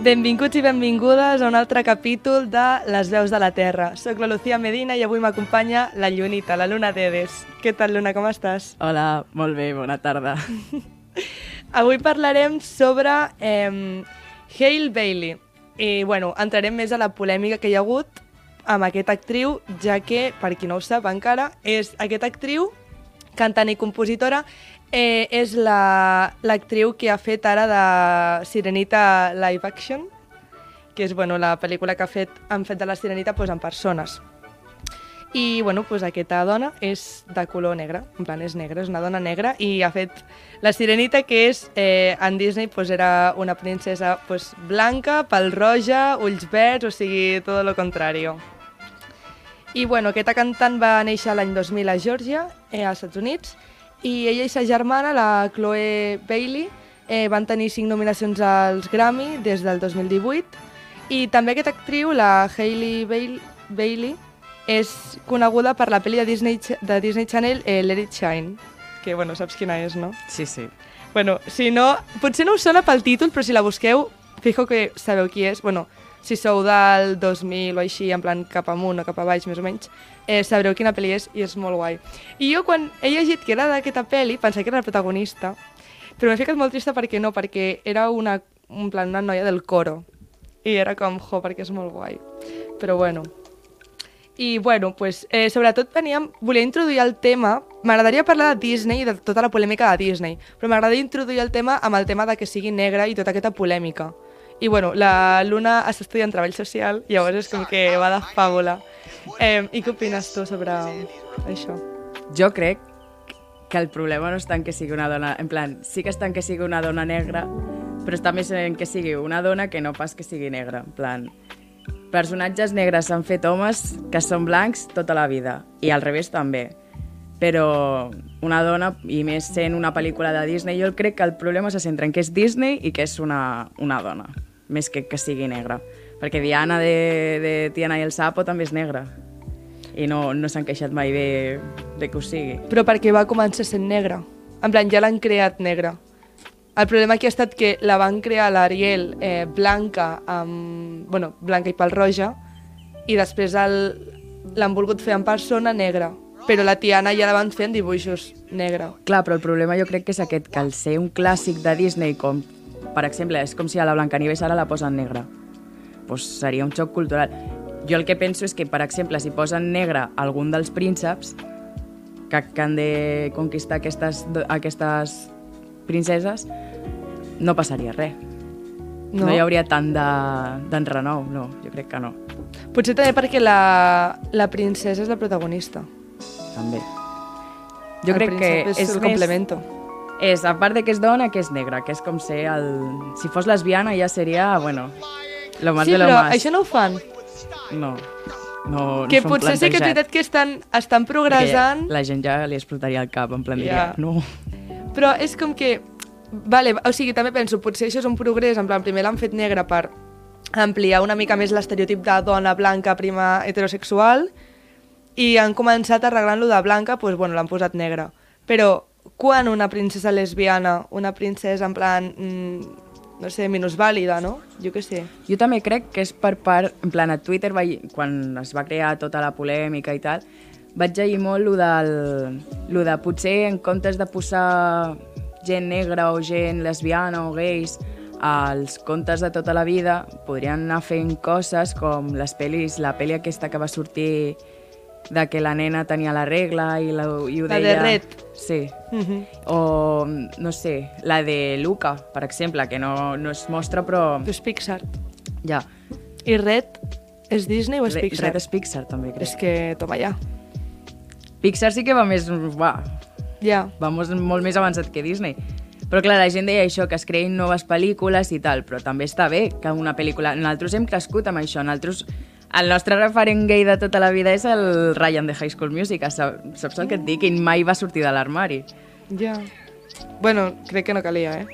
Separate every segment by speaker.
Speaker 1: Benvinguts i benvingudes a un altre capítol de Les veus de la Terra. Soc la Lucía Medina i avui m'acompanya la Llunita, la Luna Dedes. Què tal, Luna, com estàs?
Speaker 2: Hola, molt bé, bona tarda.
Speaker 1: Avui parlarem sobre eh, Hale Bailey. I, bueno, entrarem més a la polèmica que hi ha hagut amb aquesta actriu, ja que, per qui no ho sap encara, és aquesta actriu, cantant i compositora, eh, és la- l'actriu la, que ha fet ara de Sirenita Live Action, que és bueno, la pel·lícula que ha fet, han fet de la Sirenita doncs, en persones. I bueno, doncs aquesta dona és de color negre, en plan és negra, és una dona negra, i ha fet la Sirenita, que és eh, en Disney doncs, era una princesa doncs, blanca, pèl roja, ulls verds, o sigui, tot lo contrario. I bueno, aquesta cantant va néixer l'any 2000 a Georgia, eh, als Estats Units, i ella i sa germana, la Chloe Bailey, eh, van tenir cinc nominacions als Grammy des del 2018. I també aquesta actriu, la Hailey Bail Bailey, és coneguda per la pel·li de Disney, Ch- de Disney Channel eh, Let It Shine, que bueno, saps quina és, no?
Speaker 2: Sí, sí.
Speaker 1: Bueno, si no, potser no us sona pel títol, però si la busqueu, fijo que sabeu qui és. Bueno, si sou del 2000 o així, en plan cap amunt o cap a baix, més o menys, eh, sabreu quina pel·li és i és molt guai. I jo quan he llegit que era d'aquesta pel·li, pensava que era la protagonista, però m'he ficat molt trista perquè no, perquè era una, un plan, una noia del coro. I era com, jo, perquè és molt guai. Però bueno, i, bueno, pues, eh, sobretot veníem, volia introduir el tema... M'agradaria parlar de Disney i de tota la polèmica de Disney, però m'agradaria introduir el tema amb el tema de que sigui negre i tota aquesta polèmica. I, bueno, la Luna està estudiant treball social, llavors és com que va de fàbula. Eh, I què opines tu sobre això?
Speaker 2: Jo crec que el problema no està en que sigui una dona... En plan, sí que està en que sigui una dona negra, però està més en que sigui una dona que no pas que sigui negra. En plan, personatges negres s'han fet homes que són blancs tota la vida, i al revés també. Però una dona, i més sent una pel·lícula de Disney, jo crec que el problema se centra en que és Disney i que és una, una dona, més que que sigui negra. Perquè Diana de, de Tiana i el Sapo també és negra. I no, no s'han queixat mai de, de que ho sigui.
Speaker 1: Però perquè va començar sent negra. En plan, ja l'han creat negra. El problema aquí ha estat que la van crear l'Ariel eh, blanca, amb, bueno, blanca i pèl roja, i després el- l'han volgut fer en persona negra. Però la Tiana ja la van fer en dibuixos negra.
Speaker 2: Clar, però el problema jo crec que és aquest, que al ser un clàssic de Disney, com, per exemple, és com si a la Blancanieves ara la posen negra. Pues seria un xoc cultural. Jo el que penso és que, per exemple, si posen negre algun dels prínceps que, que han de conquistar aquestes, do- aquestes princeses, no passaria res. No, no hi hauria tant de- d'enrenou, de, no, jo crec que no,
Speaker 1: Potser també perquè la, la princesa és la protagonista.
Speaker 2: també. Jo
Speaker 1: El
Speaker 2: crec que
Speaker 1: príncep és,
Speaker 2: és
Speaker 1: el
Speaker 2: més,
Speaker 1: complemento.
Speaker 2: És, a part de que és dona, que és negra, que és com ser el... Si fos lesbiana ja seria, bueno, lo más
Speaker 1: Sí,
Speaker 2: de lo
Speaker 1: però
Speaker 2: más.
Speaker 1: això no ho fan.
Speaker 2: No, no,
Speaker 1: que
Speaker 2: no s'ho
Speaker 1: potser sí que
Speaker 2: han
Speaker 1: és
Speaker 2: plantejat.
Speaker 1: veritat que estan, estan
Speaker 2: Perquè
Speaker 1: progressant...
Speaker 2: La gent ja li explotaria el cap, en plan diria,
Speaker 1: Ja.
Speaker 2: no.
Speaker 1: Però és com que... Vale, o sigui, també penso, potser això és un progrés, en plan, primer l'han fet negre per ampliar una mica més l'estereotip de dona blanca, prima, heterosexual, i han començat arreglant-lo de blanca, doncs, bueno, l'han posat negre. Però quan una princesa lesbiana, una princesa en plan, mm, no sé, minusvàlida, no? Jo què sé.
Speaker 2: Jo també crec que és per part, en plan, a Twitter, vaig, quan es va crear tota la polèmica i tal, vaig llegir molt lo, del, lo de potser en comptes de posar gent negra o gent lesbiana o gais als contes de tota la vida, podrien anar fent coses com les pel·lis, la pel·li aquesta que va sortir de que la nena tenia la regla i, la, i ho
Speaker 1: La de
Speaker 2: deia...
Speaker 1: Red.
Speaker 2: Sí,
Speaker 1: Mm -hmm.
Speaker 2: o no sé, la de Luca, per exemple, que no, no es mostra però
Speaker 1: És Pixar.
Speaker 2: ja,
Speaker 1: I Red és Disney o és
Speaker 2: Re-
Speaker 1: Pixar?
Speaker 2: Red és Pixar, també, crec.
Speaker 1: És que, toma ja.
Speaker 2: Pixar sí que va més... Va,
Speaker 1: Ja.
Speaker 2: va mos- molt més avançat que Disney. Però clar, la gent deia això, que es creïn noves pel·lícules i tal, però també està bé que una pel·lícula... Nosaltres hem crescut amb això, nosaltres... El nostre referent gay de tota la vida és el Ryan de High School Musical, sa- saps el que et dic? I mai va sortir de l'armari.
Speaker 1: Ja. Bueno, crec que no calia, eh?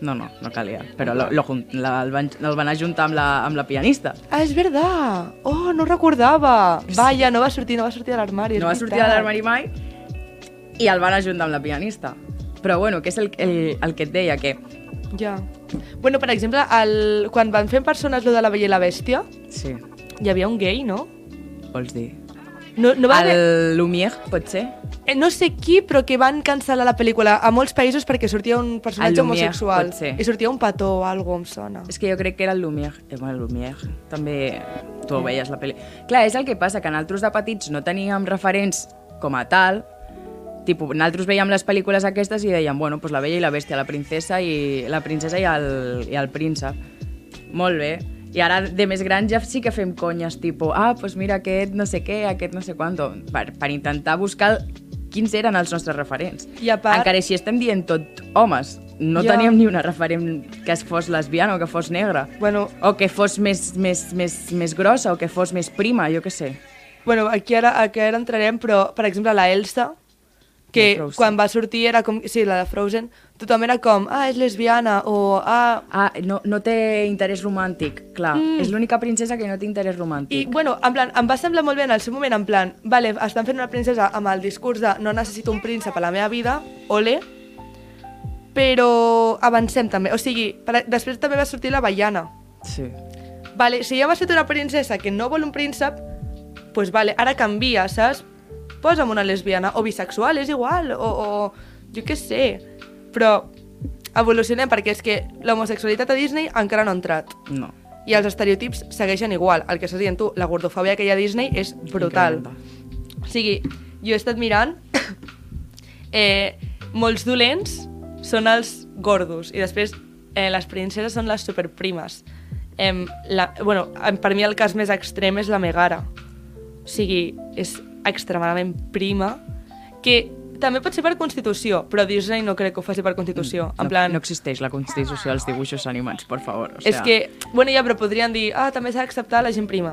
Speaker 2: No, no, no calia. Però lo, lo, jun- la, el, van, el van ajuntar amb la, amb la pianista.
Speaker 1: Ah, és verdad! Oh, no ho recordava! Vaja, no va sortir, no va sortir de l'armari. és
Speaker 2: No va sortir de
Speaker 1: veritat.
Speaker 2: l'armari mai i el van ajuntar amb la pianista. Però bueno, que és el, el, el que et deia, que
Speaker 1: Ja. Bueno, per exemple, el... quan van fer en persones lo de la Bella i la Bèstia,
Speaker 2: sí,
Speaker 1: hi havia un gay, no?
Speaker 2: vols dir.
Speaker 1: No, no va haver...
Speaker 2: El Lumière, pot ser?
Speaker 1: Eh, No sé qui, però que van cancel·lar la pel·lícula a molts països perquè sortia un personatge
Speaker 2: El Lumière,
Speaker 1: homosexual.
Speaker 2: pot ser.
Speaker 1: I sortia un petó o alguna em sona.
Speaker 2: És que jo crec que era el Lumière. Eh, bueno, el Lumière també tu ho veies la pel·li. Clar, és el que passa, que nosaltres de petits no teníem referents com a tal, tipus, nosaltres veiem les pel·lícules aquestes i dèiem, bueno, pues la bella i la bèstia, la princesa i la princesa i el, i el príncep. Molt bé. I ara, de més gran, ja sí que fem conyes, tipus, ah, doncs pues mira, aquest no sé què, aquest no sé quanto, per, per intentar buscar quins eren els nostres referents.
Speaker 1: I a part-
Speaker 2: Encara així estem dient tot homes. No
Speaker 1: Ja.
Speaker 2: teníem ni una referent que es fos lesbiana o que fos negra.
Speaker 1: Bueno,
Speaker 2: O que fos més, més, més, més grossa o que fos més prima, jo que sé.
Speaker 1: Bueno, aquí ara, aquí ara entrarem, però, per exemple, la Elsa,
Speaker 2: De
Speaker 1: que
Speaker 2: Frozen.
Speaker 1: quan va sortir era com... Sí, la de Frozen, tothom era com, ah, és lesbiana, o ah...
Speaker 2: Ah, no, no té interès romàntic, clar. Mm. És l'única princesa que no té interès romàntic.
Speaker 1: I, bueno, en plan, em va semblar molt bé en el seu moment, en plan, vale, estan fent una princesa amb el discurs de no necessito un príncep a la meva vida, ole, però avancem també. O sigui, per, després també va sortir la Baiana.
Speaker 2: Sí.
Speaker 1: Vale, si ja m'has fet una princesa que no vol un príncep, pues vale, ara canvia, saps? Posa'm una lesbiana, o bisexual, és igual, o, o jo què sé. Però evolucionem, perquè és que l'homosexualitat a Disney encara no ha entrat.
Speaker 2: No.
Speaker 1: I els estereotips segueixen igual. El que estàs dient tu, la gordofòbia que hi ha a Disney és brutal.
Speaker 2: Incrementa.
Speaker 1: O sigui, jo he estat mirant... eh, molts dolents són els gordos i després eh, les princeses són les superprimes. Em, la, bueno, em, per mi el cas més extrem és la Megara. O sigui, és extremadament prima, que també pot ser per Constitució, però Disney no crec que ho faci per Constitució. En
Speaker 2: no,
Speaker 1: plan,
Speaker 2: no existeix la Constitució dels dibuixos animats, per favor. O
Speaker 1: o és que, bueno, ja, però podrien dir, ah, també s'ha d'acceptar la gent prima.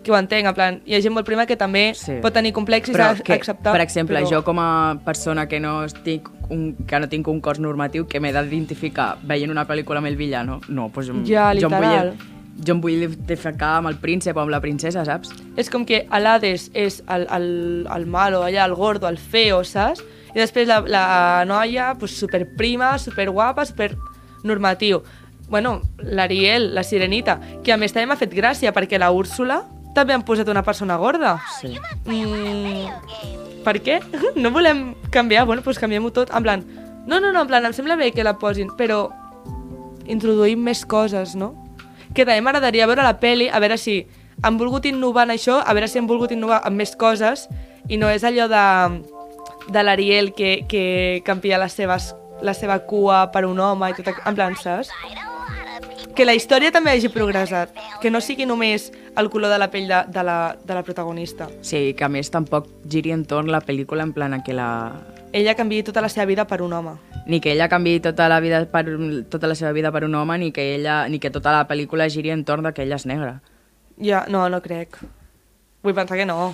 Speaker 1: Que ho entenc, en plan, hi ha gent molt prima que també sí. pot tenir complexos i s'ha d'acceptar.
Speaker 2: Per exemple, però... jo com a persona que no, estic un, que no tinc un cos normatiu que m'he d'identificar veient una pel·lícula amb el villano, no, doncs jo, em-
Speaker 1: Ja,
Speaker 2: jo, em
Speaker 1: literal.
Speaker 2: vull, jo em vull identificar amb el príncep o amb la princesa, saps?
Speaker 1: És com que a l'Hades és el, el, el malo, allà, el gordo, el feo, saps? I després la, la noia, pues, superprima, superguapa, supernormatiu. Bueno, l'Ariel, la sirenita, que a més també m'ha fet gràcia perquè la Úrsula també han posat una persona gorda.
Speaker 2: Sí.
Speaker 1: Mm, per què? No volem canviar? Bueno, doncs canviem-ho tot. En plan, no, no, no, en plan, em sembla bé que la posin, però introduïm més coses, no? Que també m'agradaria veure la peli, a veure si han volgut innovar en això, a veure si han volgut innovar en més coses, i no és allò de, de l'Ariel que, que canvia les seves, la seva cua per un home i tot, aqu- en plan, saps? Que la història també hagi progressat, que no sigui només el color de la pell de, de, la, de la protagonista.
Speaker 2: Sí, que a més tampoc giri entorn la pel·lícula en plan a que la...
Speaker 1: Ella canviï tota la seva vida per un home.
Speaker 2: Ni que ella canviï tota la, vida per, un- tota la seva vida per un home, ni que, ella, ni que tota la pel·lícula giri entorn de que ella és negra.
Speaker 1: Ja, no, no crec. Vull pensar que no.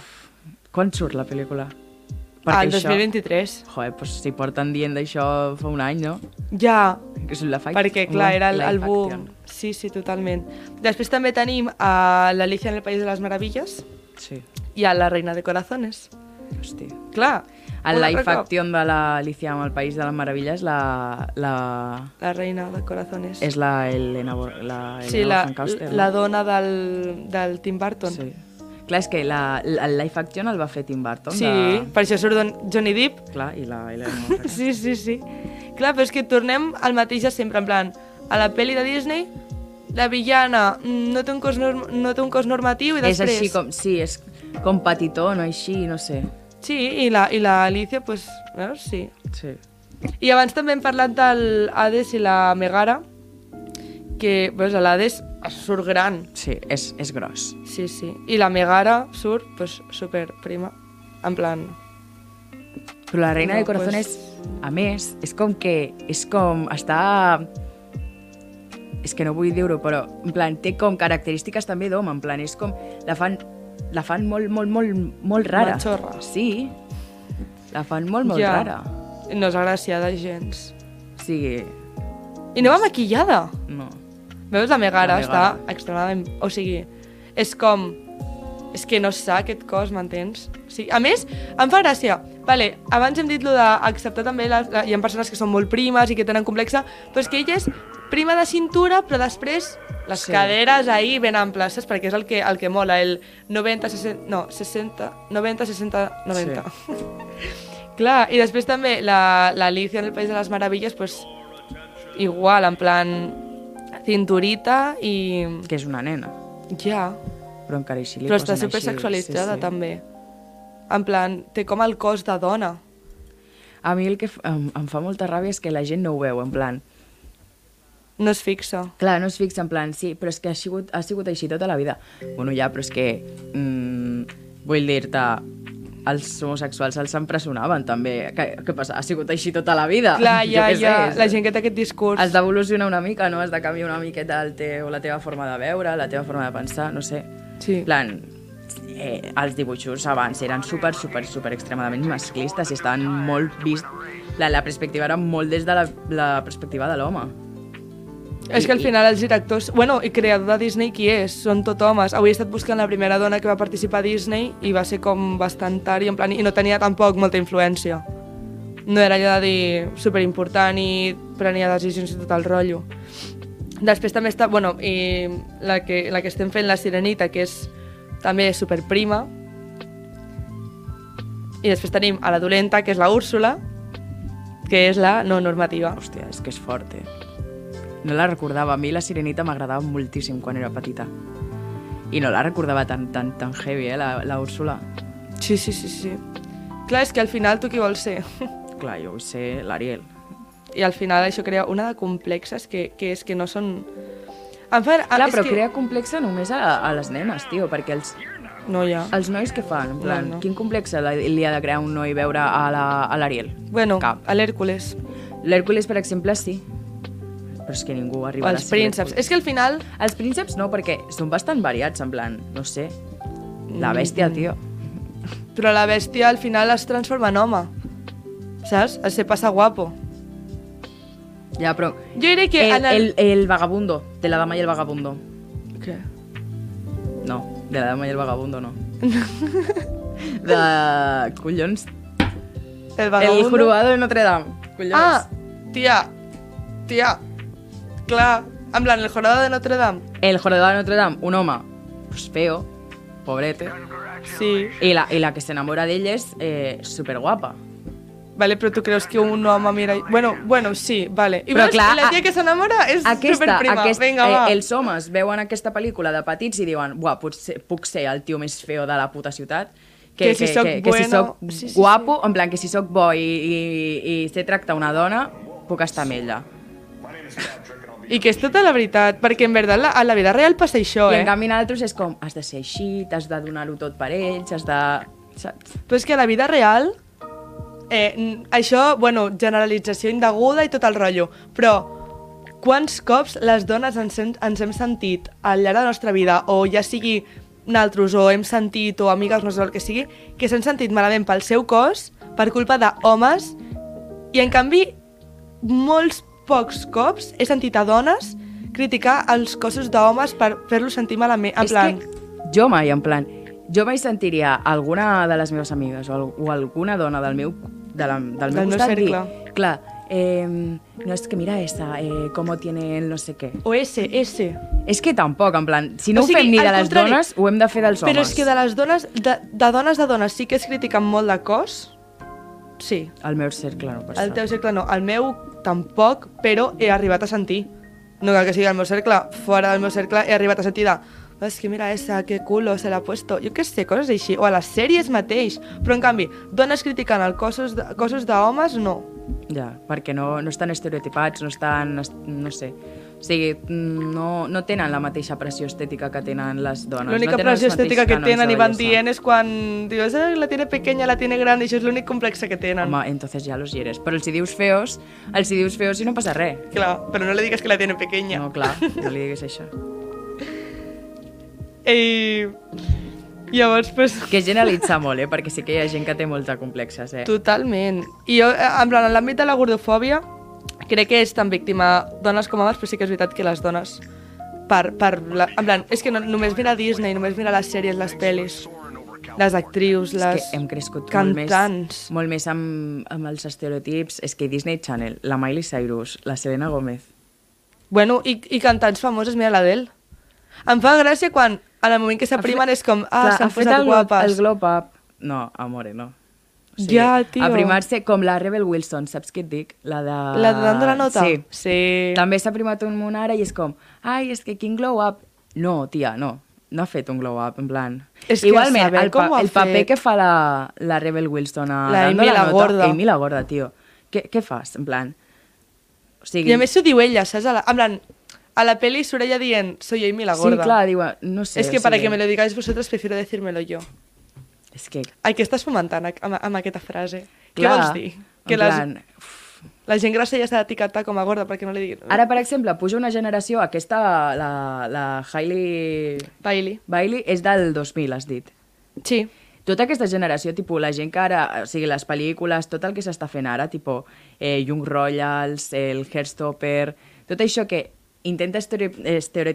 Speaker 2: Quan surt la pel·lícula?
Speaker 1: Al
Speaker 2: això-
Speaker 1: 2023.
Speaker 2: Joder, pues si porten dient d'això fa un any, no?
Speaker 1: Ja,
Speaker 2: Que és la fact,
Speaker 1: perquè, clar, era el,
Speaker 2: la
Speaker 1: el
Speaker 2: infecció.
Speaker 1: boom. Sí, sí, totalment. Després també tenim a l'Alicia en el País de les Meravilles
Speaker 2: Sí,
Speaker 1: i a la Reina de Corazones.
Speaker 2: hosti.
Speaker 1: Clar.
Speaker 2: El
Speaker 1: un
Speaker 2: live
Speaker 1: altre cop.
Speaker 2: action de l'Alicia amb el País de les Meravilles la, la,
Speaker 1: La Reina de Corazones.
Speaker 2: és la Elena, Bor- la,
Speaker 1: sí, la,
Speaker 2: Elena Bonham Carter,
Speaker 1: la
Speaker 2: no?
Speaker 1: dona del, del Tim Burton.
Speaker 2: Sí. Clar, és que la, el live action el va fer Tim Burton.
Speaker 1: sí
Speaker 2: De...
Speaker 1: per això surt don- Johnny Depp
Speaker 2: Clar, i la Elena Bonham Carter.
Speaker 1: Sí, sí, sí. Clar, però és que tornem al mateix de sempre, en plan, a la pel·li de Disney, la villana mm, no té un cos, norm no té un cos normatiu i
Speaker 2: és
Speaker 1: després...
Speaker 2: així com... Sí, és com petitó, no així, no sé.
Speaker 1: Sí, i la, i la Alicia, pues, veus, sí.
Speaker 2: Sí.
Speaker 1: I abans també hem parlat del Hades i la Megara, que, veus, l'Hades surt gran,
Speaker 2: Sí, és, és gros.
Speaker 1: sí, doncs, sí. I la Megara surt, pues, superprima, en plan...
Speaker 2: Però la reina
Speaker 1: No,
Speaker 2: no, de corazón
Speaker 1: pues-
Speaker 2: pues... és, a més, és com que, és com, està... És que no vull dir-ho, però en plan, té com característiques també d'home, en plan, és com, la fan, la fan molt, molt, molt, molt rara.
Speaker 1: Machorra.
Speaker 2: Sí, la fan molt, molt
Speaker 1: Ja.
Speaker 2: ja. rara.
Speaker 1: No és agraciada gens.
Speaker 2: O sigui,
Speaker 1: I no va maquillada.
Speaker 2: no.
Speaker 1: Veus, la Megara
Speaker 2: La
Speaker 1: està
Speaker 2: Megara.
Speaker 1: extremadament... O sigui, és com... És que no s'ha aquest cos, m'entens? O sigui, a més, em fa gràcia. Vale, abans hem dit lo d'acceptar també... Les, la, hi ha persones que són molt primes i que tenen complexa, però és que ella és prima de cintura, però després les
Speaker 2: Sí.
Speaker 1: sí. caderes ahí ben amples, saps? Perquè és el que, el que mola, el 90, 60... No, 60... 90, 60, 90. Sí. Clar, i després també la, la Alicia en el País de les Meravilles, pues, igual, en plan cinturita i...
Speaker 2: Que és una nena,
Speaker 1: Ja,
Speaker 2: però encara així li
Speaker 1: però està
Speaker 2: posen així,
Speaker 1: supersexualitzada sí, sí. també. En plan, té com el cos de dona.
Speaker 2: A mi el que f- em, em fa molta ràbia és que la gent no ho veu, en plan...
Speaker 1: No es fixa.
Speaker 2: Clar, no es fixa en plan, sí, però és que ha sigut, ha sigut així tota la vida. Bueno, ja, però és que... Mm, vull dir-te, els homosexuals els empresonaven també. Què, què passa? Ha sigut així tota la vida.
Speaker 1: Clar,
Speaker 2: Jo
Speaker 1: ja,
Speaker 2: què sé,
Speaker 1: ja,
Speaker 2: és-
Speaker 1: la gent que té aquest discurs.
Speaker 2: Has d'evolucionar una mica, no? Has de canviar una miqueta el teu, la teva forma de veure, la teva forma de pensar, no sé.
Speaker 1: Sí.
Speaker 2: En plan, eh, els dibuixos abans eren super, super, super extremadament masclistes i estaven molt vist... La, la perspectiva era molt des de la, la perspectiva de l'home.
Speaker 1: És que al final els directors... Bueno, i creador de Disney qui és? Són tot homes. Avui he estat buscant la primera dona que va participar a Disney i va ser com bastant tard i, en plan, i no tenia tampoc molta influència. No era allò de dir superimportant i prenia decisions i tot el rotllo. Després també està... Bueno, i la que, la que estem fent, la Sirenita, que és també superprima. I després tenim a la dolenta, que és la Úrsula, que és la no normativa.
Speaker 2: Hòstia, és que és fort, eh? No la recordava. A mi la Sirenita m'agradava moltíssim quan era petita. I no la recordava tan, tan, tan heavy, eh, la, la Úrsula.
Speaker 1: Sí, sí, sí, sí. Clar, és que al final tu qui vols ser?
Speaker 2: Clar, jo vull ser l'Ariel.
Speaker 1: I al final això crea una de complexes que, que és que no són... En fan,
Speaker 2: Clar,
Speaker 1: Ah, és
Speaker 2: però
Speaker 1: que...
Speaker 2: crea complexa només a, a les nenes, tio, perquè els,
Speaker 1: No, ja.
Speaker 2: els nois què fan? En plan,
Speaker 1: No, no.
Speaker 2: quin complex li ha de crear un noi veure a la- a l'Ariel?
Speaker 1: Bueno,
Speaker 2: Cap.
Speaker 1: a l'Hèrcules,
Speaker 2: L'Hèrcules, per exemple, sí. Però és que ningú arriba
Speaker 1: els prínceps.
Speaker 2: És...
Speaker 1: És que al final...
Speaker 2: Els prínceps no, perquè són bastant variats, en plan, no sé, la
Speaker 1: Mm.
Speaker 2: bèstia, tio.
Speaker 1: Però la bèstia al final es transforma en home. Saps? Es se passa guapo.
Speaker 2: Ja, però
Speaker 1: Jo diré que...
Speaker 2: El,
Speaker 1: en el...
Speaker 2: el, el vagabundo, de la dama y el vagabundo.
Speaker 1: Què?
Speaker 2: No, de la dama y el vagabundo no. De... Collons.
Speaker 1: El
Speaker 2: El
Speaker 1: vagabundo?
Speaker 2: jorobado de Notre Dame. Collons.
Speaker 1: Ah, tia. Tia. Clar. En plan, el jornada de Notre Dame.
Speaker 2: El jorobado de Notre Dame, un home pues, feo, pobrete.
Speaker 1: Sí.
Speaker 2: Y la, y la que se enamora de ella es eh, súper guapa.
Speaker 1: Vale, però tu creus que un home mira... Bueno, bueno, sí, vale. I veus,
Speaker 2: Però clar,
Speaker 1: la tia
Speaker 2: a-
Speaker 1: que s'enamora és
Speaker 2: Aquesta,
Speaker 1: superprima.
Speaker 2: aquest,
Speaker 1: Vinga, va.
Speaker 2: eh, els homes veuen aquesta pel·lícula de petits i diuen buah, potser, puc ser el tio més feo de la puta ciutat.
Speaker 1: Que si soc
Speaker 2: que, que si
Speaker 1: bueno,
Speaker 2: soc
Speaker 1: sí, sí, sí.
Speaker 2: guapo, en plan, que si soc bo i, i, i sé tractar una dona, puc estar amb ella.
Speaker 1: I que és tota la veritat, perquè en veritat la, a la vida real passa això,
Speaker 2: I
Speaker 1: eh?
Speaker 2: en canvi en altres és com, has de ser així, t'has de donar-ho tot per ells, has de... Saps?
Speaker 1: Però és que a la vida real... Eh, n- això, bueno, generalització indeguda i tot el rotllo, però quants cops les dones ens hem, ens hem sentit al llarg de la nostra vida, o ja sigui naltros, o hem sentit, o amigues, no sé el que sigui, que s'han sentit malament pel seu cos per culpa d'homes, i en canvi, molts pocs cops he sentit a dones criticar els cossos d'homes per fer-los sentir malament, en
Speaker 2: és
Speaker 1: plan...
Speaker 2: que jo mai, en plan, jo mai sentiria alguna de les meves amigues o, al, o alguna dona del meu, de la, del meu
Speaker 1: Del meu
Speaker 2: costat
Speaker 1: cercle.
Speaker 2: dir, clar, eh, no és que mira esa, eh, com tiene el no sé què.
Speaker 1: O ese, ese.
Speaker 2: És que tampoc, en plan, si no
Speaker 1: O sigui,
Speaker 2: ho fem ni de
Speaker 1: al
Speaker 2: les
Speaker 1: contrari.
Speaker 2: dones, ho hem de fer dels homes.
Speaker 1: Però és que de les dones, de, de dones de dones sí que es critiquen molt de cos, sí.
Speaker 2: El meu cercle no passa.
Speaker 1: El teu cercle no, el meu tampoc, però he arribat a sentir. No cal que sigui el meu cercle, fora del meu cercle he arribat a sentir de és que mira esa, que culo se l'ha puesto, jo què sé, coses així, o a les sèries mateix, però en canvi, dones criticant el cossos de- cossos d'homes, no.
Speaker 2: Ja, perquè no, no estan estereotipats, no estan... est- no sé. O sigui, no, no tenen la mateixa pressió estètica que tenen les dones.
Speaker 1: L'única
Speaker 2: no tenen els
Speaker 1: pressió estètica
Speaker 2: mateixos
Speaker 1: que
Speaker 2: cànons
Speaker 1: tenen
Speaker 2: de
Speaker 1: i van
Speaker 2: bellesa.
Speaker 1: dient és quan dius, "Ah, la tiene pequeña, la tiene gran, i això és l'únic complexe que tenen.
Speaker 2: Home, entonces ya los hieres. Però els hi dius feos, els hi dius feos i no passa res.
Speaker 1: Clar, però no le digues que la tiene pequeña.
Speaker 2: No, clar, no li diguis això.
Speaker 1: I llavors, pues,
Speaker 2: Que generalitza molt, eh? Perquè sí que hi ha gent que té molta complexes, eh?
Speaker 1: Totalment. I jo, eh, en plan, en l'àmbit de la gordofòbia, crec que és tan víctima dones com homes, però sí que és veritat que les dones per, per la, en plan, és que no, només mira Disney, només mira les sèries, les pel·lis, les actrius,
Speaker 2: És
Speaker 1: les
Speaker 2: que hem crescut
Speaker 1: cantants.
Speaker 2: molt més, molt més amb, amb els estereotips. És que Disney Channel, la Miley Cyrus, la Selena Gomez...
Speaker 1: Bueno, i, i cantants famoses, mira l'Adele. Em fa gràcia quan, en el moment que s'aprimen, és com, ah,
Speaker 2: Clar, ha
Speaker 1: s'han
Speaker 2: fet
Speaker 1: posat
Speaker 2: el,
Speaker 1: guapes.
Speaker 2: El glow up. No, amore, no.
Speaker 1: Ja, tio.
Speaker 2: Aprimar-se com la Rebel Wilson, saps què et dic? La de...
Speaker 1: La de dando la nota?
Speaker 2: Ah, Sí.
Speaker 1: sí.
Speaker 2: També s'ha primat un munt ara i és com, ai, és que quin glow up. No, tia, no. No ha fet un glow up, en plan...
Speaker 1: És que a
Speaker 2: Igualment,
Speaker 1: saber
Speaker 2: el, pa
Speaker 1: com ho ha
Speaker 2: el paper
Speaker 1: fet.
Speaker 2: que fa la, la Rebel Wilson a
Speaker 1: La
Speaker 2: Dando
Speaker 1: Amy la
Speaker 2: nota,
Speaker 1: Gorda.
Speaker 2: Amy la gorda, tio. Què, què fas, en plan? O sigui,
Speaker 1: I a més s'ho diu ella, saps? A la, en plan, a la pel·li surt ella dient, soy Amy la gorda.
Speaker 2: Sí, clar, diuen, no sé.
Speaker 1: es que
Speaker 2: o
Speaker 1: para
Speaker 2: sigui,
Speaker 1: que me lo digáis vosotros prefiero decírmelo yo.
Speaker 2: És que,
Speaker 1: Ai, què estàs fomentant ac- amb, amb aquesta frase? Què
Speaker 2: clar,
Speaker 1: vols dir? Que
Speaker 2: en
Speaker 1: les,
Speaker 2: plan,
Speaker 1: la gent grassa ja s'ha d'etiquetar com a gorda perquè no li diguin...
Speaker 2: Ara, per exemple, puja una generació, aquesta, la, la Hailey
Speaker 1: Bailey.
Speaker 2: Bailey, és del 2000, has dit.
Speaker 1: Sí.
Speaker 2: Tota aquesta generació, tipus, la gent que ara, o sigui, les pel·lícules, tot el que s'està fent ara, tipus, eh, Young Royals, el Hairstopper, tot això que intenta estere-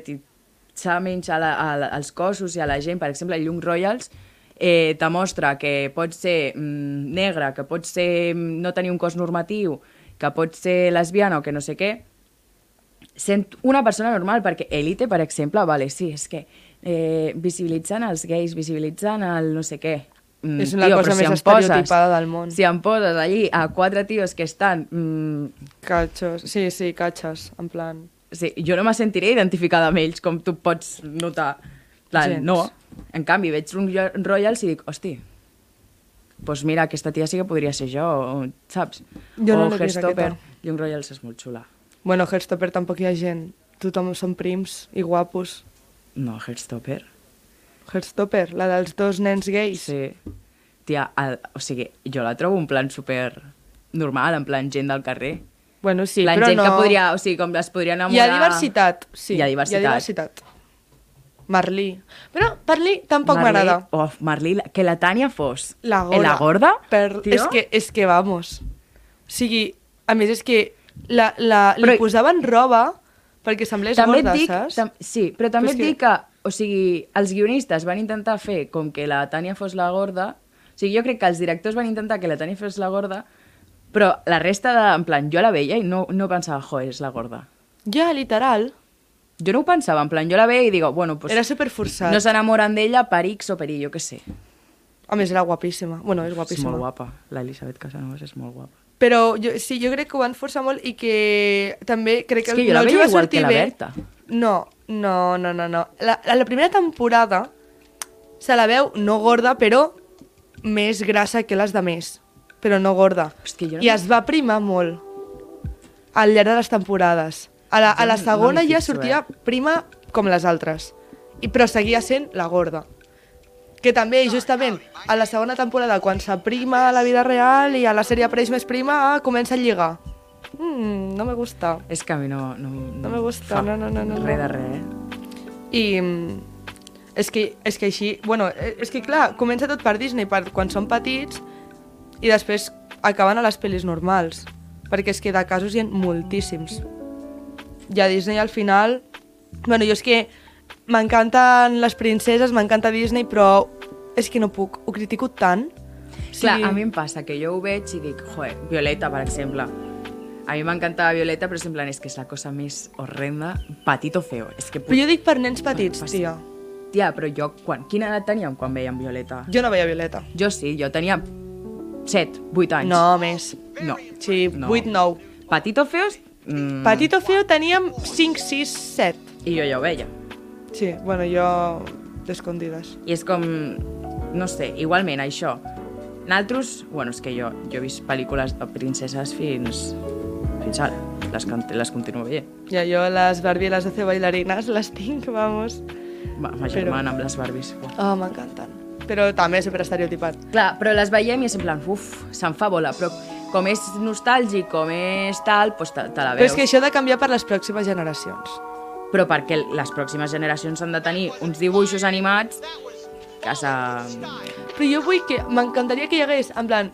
Speaker 2: estereotipitzar menys a la, a la, als cossos i a la gent, per exemple, el Young Royals, eh, te mostra que pot ser mm, negre, que pot ser mm, no tenir un cos normatiu, que pot ser lesbiana o que no sé què, sent una persona normal, perquè Elite, per exemple, vale, sí, és que eh, visibilitzen els gais, visibilitzen el no sé què. Mm,
Speaker 1: És la cosa
Speaker 2: però
Speaker 1: més
Speaker 2: em
Speaker 1: estereotipada del món.
Speaker 2: Si em poses allí a quatre tios que estan... Mm,
Speaker 1: Catxos. Sí, sí, catxes, en plan...
Speaker 2: sí, jo no me sentiré identificada amb ells, com tu pots notar. Plan,
Speaker 1: Gens.
Speaker 2: no. En canvi, veig un Ro- Royals i dic, hosti, doncs mira, aquesta tia sí que podria ser jo, o, saps?
Speaker 1: Jo no
Speaker 2: o
Speaker 1: l'he vist,
Speaker 2: Hairstopper.
Speaker 1: aquesta.
Speaker 2: Young Royals és molt xula.
Speaker 1: Bueno, Herstopper tampoc hi ha gent. Tothom són prims i guapos.
Speaker 2: No, Hairstopper.
Speaker 1: Herstopper, la dels dos nens gais.
Speaker 2: Sí. Tia, el, o sigui, jo la trobo un plan super normal, en plan gent del carrer.
Speaker 1: Bueno, sí,
Speaker 2: Sí, plan
Speaker 1: però
Speaker 2: gent
Speaker 1: no...
Speaker 2: que podria, o sigui, com les podria enamorar...
Speaker 1: Hi ha diversitat, sí.
Speaker 2: Hi ha diversitat.
Speaker 1: Hi ha diversitat. Marlí. Però Marlí tampoc
Speaker 2: Marley-
Speaker 1: m'agrada.
Speaker 2: Oh, Marlí, que la Tània fos...
Speaker 1: La gorda.
Speaker 2: La gorda?
Speaker 1: Per...
Speaker 2: tio?
Speaker 1: És, que, és que vamos. O sigui, a més és que la, la, li
Speaker 2: Però-
Speaker 1: posaven roba perquè semblés
Speaker 2: també
Speaker 1: gorda,
Speaker 2: et dic,
Speaker 1: saps?
Speaker 2: Tam sí, però també
Speaker 1: Però és
Speaker 2: et dic que... O sigui, els guionistes van intentar fer com que la Tània fos la gorda... O sigui, jo crec que els directors van intentar que la Tània fos la gorda, però la resta de... En plan, jo la veia i no, no pensava, jo, és la gorda.
Speaker 1: Ja, literal.
Speaker 2: Jo no ho pensava, en plan, jo la veia i digo, bueno, pues...
Speaker 1: Era superforçat.
Speaker 2: No s'enamoren d'ella per X o per Y, jo què sé.
Speaker 1: A més, era guapíssima. Bueno, és
Speaker 2: És
Speaker 1: guapíssima.
Speaker 2: molt guapa. L'Elisabet Casanovas és molt guapa.
Speaker 1: Però jo, sí, jo crec que ho van forçar molt i que també crec que,
Speaker 2: És que jo la
Speaker 1: no els
Speaker 2: veia
Speaker 1: va
Speaker 2: igual
Speaker 1: sortir
Speaker 2: que la
Speaker 1: bé.
Speaker 2: Berta.
Speaker 1: No, no, no, no. no. La, a la primera temporada se la veu no gorda, però més grassa que les de més. Però no gorda.
Speaker 2: Hosti, jo no
Speaker 1: I
Speaker 2: m'he-
Speaker 1: es va primar molt al llarg de les temporades. A la, a
Speaker 2: Jo
Speaker 1: la
Speaker 2: no- no
Speaker 1: segona
Speaker 2: m'hi
Speaker 1: ja
Speaker 2: fixo, eh.
Speaker 1: sortia prima com les altres. I, però seguia sent la gorda. Que també, justament, a la segona temporada, quan s'aprima a la vida real i a la sèrie apareix més prima, ah, comença a lligar. Mm, no me gusta.
Speaker 2: És que a mi no... No, no
Speaker 1: me gusta,
Speaker 2: fa
Speaker 1: no, no, no, no, no.
Speaker 2: Res de res, eh?
Speaker 1: I mm, és que, és que així... Bueno, eh, és que clar, comença tot per Disney, per quan són petits, i després acaben a les pel·lis normals. Perquè és que de casos hi ha moltíssims. I a Disney al final... Bueno, jo és que m'encanten les princeses, m'encanta Disney, però és que no puc, ho critico tant. O
Speaker 2: Sí. Clar, a mi em passa que jo ho veig i dic, joe, Violeta, per exemple. A mi m'encantava Violeta, però és en plan, és que és la cosa més horrenda, petito feo. És que,
Speaker 1: Però
Speaker 2: put...
Speaker 1: jo dic per nens petits,
Speaker 2: passa.
Speaker 1: tia.
Speaker 2: tia, però jo, quan, quina edat teníem quan veiem Violeta?
Speaker 1: Jo no veia Violeta.
Speaker 2: Jo sí, jo tenia 7, 8 anys.
Speaker 1: No, més.
Speaker 2: No.
Speaker 1: Sí,
Speaker 2: No.
Speaker 1: 8-9.
Speaker 2: Petito feos, mm,
Speaker 1: Petito feo teníem 5, 6, 7.
Speaker 2: i jo ja ho veia.
Speaker 1: Sí, bueno, jo d'escondides.
Speaker 2: I és com, no sé, igualment això. Naltros, bueno, és que jo, jo he vist pel·lícules de princeses fins, fins ara. Les, cont- les continuo veient.
Speaker 1: Ja jo les Barbie i les hace bailarinas les tinc, vamos.
Speaker 2: Ma, ma
Speaker 1: Però-
Speaker 2: germana amb les Barbies. Uah.
Speaker 1: Oh, m'encanten. Però també super estereotipat.
Speaker 2: Clar, però les veiem i és en plan, uf, se'n fa bola, però com és nostàlgic, com és tal, doncs te, te la
Speaker 1: Però
Speaker 2: veus.
Speaker 1: és que això ha de canviar per les pròximes generacions.
Speaker 2: Però perquè les pròximes generacions han de tenir uns dibuixos animats que se... Ah,
Speaker 1: Però jo vull que... M'encantaria que hi hagués, en plan,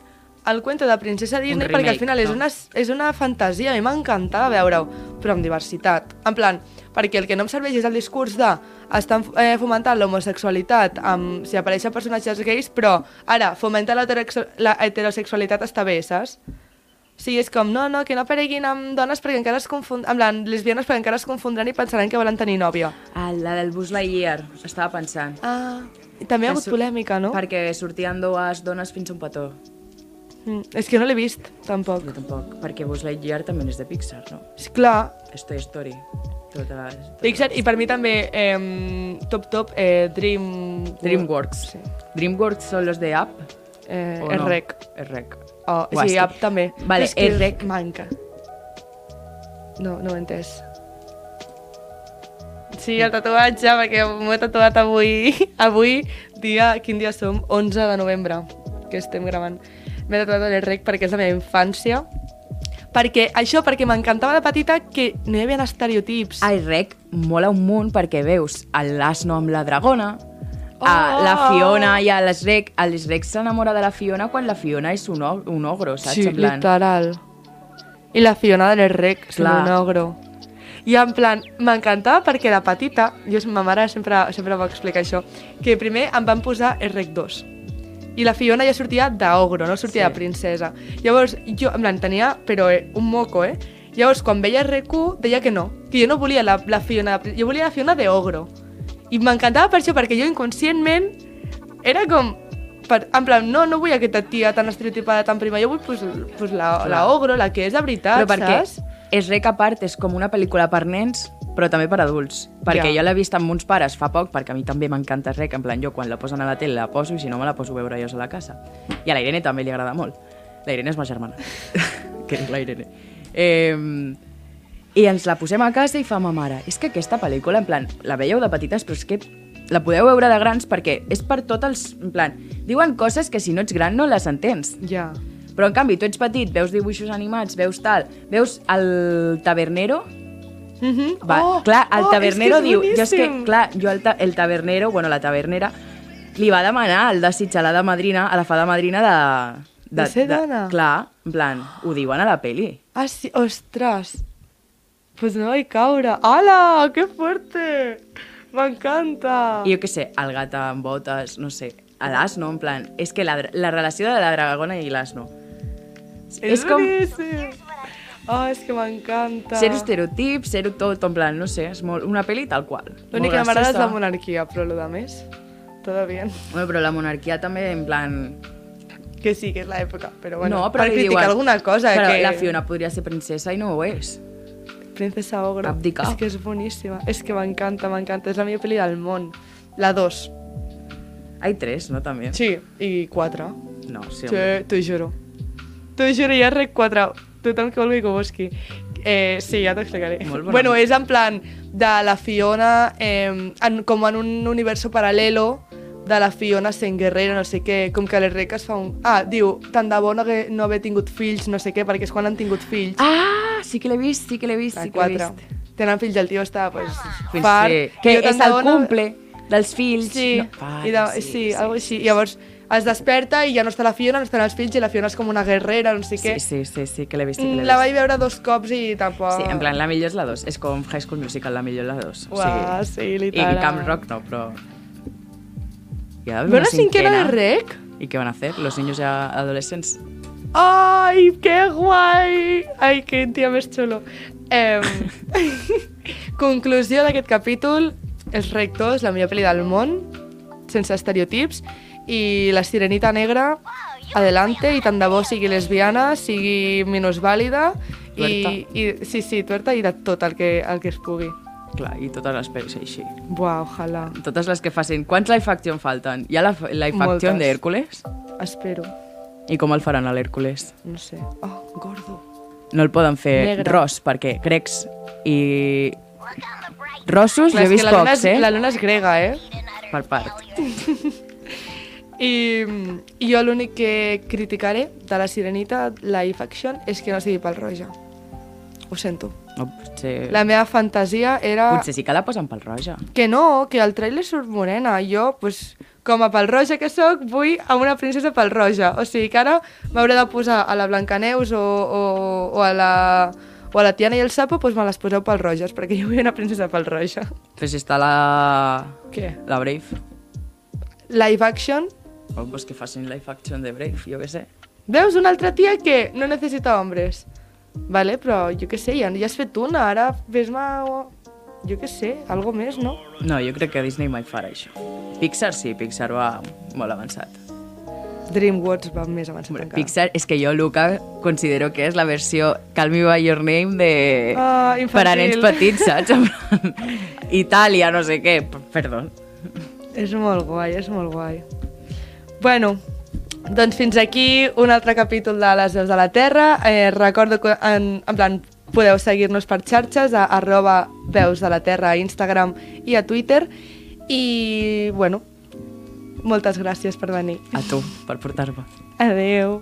Speaker 1: el cuento de princesa Disney,
Speaker 2: remake,
Speaker 1: perquè al final és
Speaker 2: no?
Speaker 1: una, és una fantasia, a mi m'encantava veure-ho, però amb diversitat. En plan, perquè el que no em serveix és el discurs de estan eh, fomentant l'homosexualitat amb si apareixen personatges gais, però ara, fomentar l'heterosexu- la heterosexualitat està bé, saps? O sigui, és com, no, no, que no apareguin amb dones perquè encara es confondran, amb plan, lesbianes perquè encara es confondran i pensaran que volen tenir nòvia.
Speaker 2: Ah, la del Buzz Lightyear, estava pensant.
Speaker 1: Ah, i també hi ha hagut
Speaker 2: Su-
Speaker 1: polèmica, no?
Speaker 2: Perquè sortien dues dones fins a un petó.
Speaker 1: Mm, és que no l'he vist, tampoc.
Speaker 2: Jo tampoc, perquè Buzz Lightyear també és de Pixar, no?
Speaker 1: És clar,
Speaker 2: És Toy Story. Tota...
Speaker 1: Pixar, i per mi també eh, top top eh, Dream...
Speaker 2: DreamWorks.
Speaker 1: Sí.
Speaker 2: DreamWorks són los de Up?
Speaker 1: Eh,
Speaker 2: o
Speaker 1: no? Rec.
Speaker 2: És rec.
Speaker 1: Oh,
Speaker 2: Uah,
Speaker 1: sí,
Speaker 2: és que-
Speaker 1: Up també.
Speaker 2: Vale,
Speaker 1: És que
Speaker 2: és Rec.
Speaker 1: Manca. No, no ho he entès. Sí, el tatuatge, perquè m'ho he tatuat avui. Avui, dia, quin dia som? 11 de novembre, que estem gravant. M'he tatuat el rec perquè és la meva infància. Perquè, això, perquè m'encantava de petita que no hi havia estereotips.
Speaker 2: El rec mola un munt perquè veus el l'asno amb la dragona, a la
Speaker 1: Oh!
Speaker 2: Fiona i a l'Shrek. El Shrek s'enamora de la Fiona quan la Fiona és un, og un ogro, saps?
Speaker 1: Sí,
Speaker 2: en plan,
Speaker 1: literal. I la Fiona de les Rec, és
Speaker 2: Clar.
Speaker 1: un ogro. I en plan, m'encantava perquè de petita, jo, ma mare sempre, sempre va explicar això, que primer em van posar el Rec 2. I la Fiona ja sortia d'ogro, no sortia
Speaker 2: Sí.
Speaker 1: de princesa. Llavors, jo, en plan, tenia, però eh, un moco, eh? Llavors, quan veia Rec 1, deia que no, que jo no volia la, la Fiona, de prin- jo volia la Fiona d'ogro. I m'encantava per això, perquè jo inconscientment era com... Per, en plan, no, no vull aquesta tia tan estereotipada, tan prima, jo vull pues, pues la,
Speaker 2: Clar.
Speaker 1: la ogro, la que és de veritat,
Speaker 2: Però perquè
Speaker 1: saps?
Speaker 2: Shrek a part és com una pel·lícula per nens, però també per adults.
Speaker 1: Ja.
Speaker 2: Perquè jo l'he vist amb uns pares fa poc, perquè a mi també m'encanta Shrek, en plan, jo quan la posen a la tele la poso i si no me la poso a veure jo sola a la casa. I a la Irene també li agrada molt. La Irene és ma germana, que és la Irene. Eh, I ens la posem a casa i fa ma mare, és que aquesta pel·lícula, en plan, la veieu de petites, però és que la podeu veure de grans perquè és per tot els... En plan, diuen coses que si no ets gran no les entens.
Speaker 1: Ja.
Speaker 2: Però en canvi, tu ets petit, veus dibuixos animats, veus tal, veus el tabernero...
Speaker 1: Mm
Speaker 2: Va,
Speaker 1: oh,
Speaker 2: clar, el
Speaker 1: oh,
Speaker 2: tabernero
Speaker 1: és que és
Speaker 2: diu... Jo és que,
Speaker 1: boníssim.
Speaker 2: clar, jo el, ta el tabernero, bueno, la tabernera, li va demanar al desig a la de madrina, a la fada madrina de...
Speaker 1: De ser dona.
Speaker 2: Clar, en plan, ho diuen a la peli.
Speaker 1: Ah, sí, ostres. Pues no vaig caure. Hola, que fuerte. M'encanta.
Speaker 2: I jo què sé, el gat amb botes, no sé, a l'asno, en plan... És que la, dra- la relació de la dragona i l'asno.
Speaker 1: És,
Speaker 2: és com-
Speaker 1: boníssim. Oh, és que m'encanta.
Speaker 2: Zero estereotips, zero tot, en plan, no sé, és molt, una peli tal qual.
Speaker 1: L'únic que m'agrada
Speaker 2: Molt
Speaker 1: és
Speaker 2: graciosa.
Speaker 1: la monarquia, però lo de més, todo bien.
Speaker 2: Bueno, però la monarquia també, en plan,
Speaker 1: Que sí, que és l'època, però bueno,
Speaker 2: no, però
Speaker 1: per
Speaker 2: li
Speaker 1: criticar
Speaker 2: diuen,
Speaker 1: alguna cosa.
Speaker 2: Però
Speaker 1: que...
Speaker 2: la Fiona podria ser princesa i no ho és.
Speaker 1: Princesa Ogro.
Speaker 2: Abdicar.
Speaker 1: És que és boníssima. És que m'encanta, m'encanta. És la millor pel·li del món. La 2.
Speaker 2: Hay tres, no, també?
Speaker 1: Sí, i 4.
Speaker 2: No,
Speaker 1: Sí,
Speaker 2: sí, home.
Speaker 1: t'ho juro. T'ho juro, hi ha rec 4. Tothom que vulgui que ho busqui. Eh, sí, ja t'ho explicaré.
Speaker 2: Molt bona.
Speaker 1: Bueno, és en plan de la Fiona, eh, en, com en un universo paral·lelo, de la Fiona sent guerrera, no sé què, com que les reques fa un... Ah, diu, tant de bo no, hagué- no haver tingut fills, no sé què, perquè és quan han tingut fills.
Speaker 2: Ah, sí que l'he vist, sí que l'he vist,
Speaker 1: La
Speaker 2: sí que l'he
Speaker 1: 4.
Speaker 2: vist.
Speaker 1: Tenen fills, el tio està, pues,
Speaker 2: Fins
Speaker 1: fart.
Speaker 2: sí. Que
Speaker 1: Jo
Speaker 2: és
Speaker 1: tant
Speaker 2: el
Speaker 1: de bona-
Speaker 2: cumple dels fills.
Speaker 1: Sí,
Speaker 2: No, pare,
Speaker 1: i de, sí, sí, algo així. Llavors es desperta i ja no està la Fiona, no estan els fills, i la Fiona és com una guerrera, no sé
Speaker 2: Sí,
Speaker 1: què.
Speaker 2: sí, sí, sí, que l'he vist, sí que
Speaker 1: Mm,
Speaker 2: l'he
Speaker 1: la
Speaker 2: vist.
Speaker 1: vaig veure dos cops i tampoc...
Speaker 2: Sí, en plan, la millor és la 2. És com High School Musical, la millor és la 2.
Speaker 1: Uah,
Speaker 2: o
Speaker 1: sí,
Speaker 2: sigui, I,
Speaker 1: literal.
Speaker 2: I Camp Rock no, però... Hi ha d'haver
Speaker 1: Ve una cinquena de rec?
Speaker 2: ¿Y qué van a hacer? ¿Los niños ya adolescentes?
Speaker 1: ¡Ay, qué guai! Ai, que tio més xulo. Em, conclusió d'aquest capítol, Els rectors, la millor pel·li del món, sense estereotips, i La sirenita negra, adelante, i tant de bo sigui lesbiana, sigui minusvàlida, i,
Speaker 2: Tuerta.
Speaker 1: i, sí, sí, tuerta i de tot el que, el que es pugui.
Speaker 2: Clar, i totes les pel·lis així.
Speaker 1: Buah, ojalà.
Speaker 2: Totes les que facin. Quants live action falten? Hi ha la, live action
Speaker 1: Moltes.
Speaker 2: d'Hèrcules?
Speaker 1: Espero.
Speaker 2: I com el faran a l'Hèrcules?
Speaker 1: No sé. Oh, gordo.
Speaker 2: No el poden fer
Speaker 1: Negre.
Speaker 2: ros, perquè grecs i... Rossos,
Speaker 1: Clar,
Speaker 2: jo he
Speaker 1: és que
Speaker 2: vist
Speaker 1: la luna,
Speaker 2: pocs,
Speaker 1: és,
Speaker 2: eh?
Speaker 1: la luna és grega, eh?
Speaker 2: Per part.
Speaker 1: I, I jo l'únic que criticaré de la Sirenita, la live action, és que no sigui pel roja. Ho sento.
Speaker 2: No, potser...
Speaker 1: La meva fantasia era...
Speaker 2: Potser sí que la posen pel roja.
Speaker 1: Que no, que al trailer surt morena. Jo, pues, com a pelroja que sóc, vull a una princesa pelroja. O sigui que ara m'hauré de posar a la Blancaneus o, o, o a la o a la Tiana i el Sapo, doncs me les poseu pelroges, perquè jo vull una princesa pelroja.
Speaker 2: Però si està la...
Speaker 1: Què?
Speaker 2: La Brave.
Speaker 1: Live action.
Speaker 2: Oh, pues que facin live action de Brave, jo què sé.
Speaker 1: Veus, una altra tia que no necessita hombres. Vale, però jo què sé, ja, ja has fet una, ara fes-me... o- Jo què sé, algo més, no?
Speaker 2: No, jo crec que Disney mai farà això. Pixar sí, Pixar va molt avançat.
Speaker 1: DreamWorks va més avançat
Speaker 2: Hombre,
Speaker 1: encara.
Speaker 2: Pixar, és que jo, Luca, considero que és la versió Call Me By Your Name de...
Speaker 1: Ah,
Speaker 2: per a
Speaker 1: infantil.
Speaker 2: nens petits, saps? En plan, Itàlia, no sé què. P- Perdó.
Speaker 1: És molt guai, és molt guai. Bueno, doncs fins aquí un altre capítol de Les Veus de la Terra. Eh, recordo que en, en plan podeu seguir-nos per xarxes a arroba veus de la terra a Instagram i a Twitter. I, bueno, moltes gràcies per venir.
Speaker 2: A tu, per portar-me.
Speaker 1: Adeu.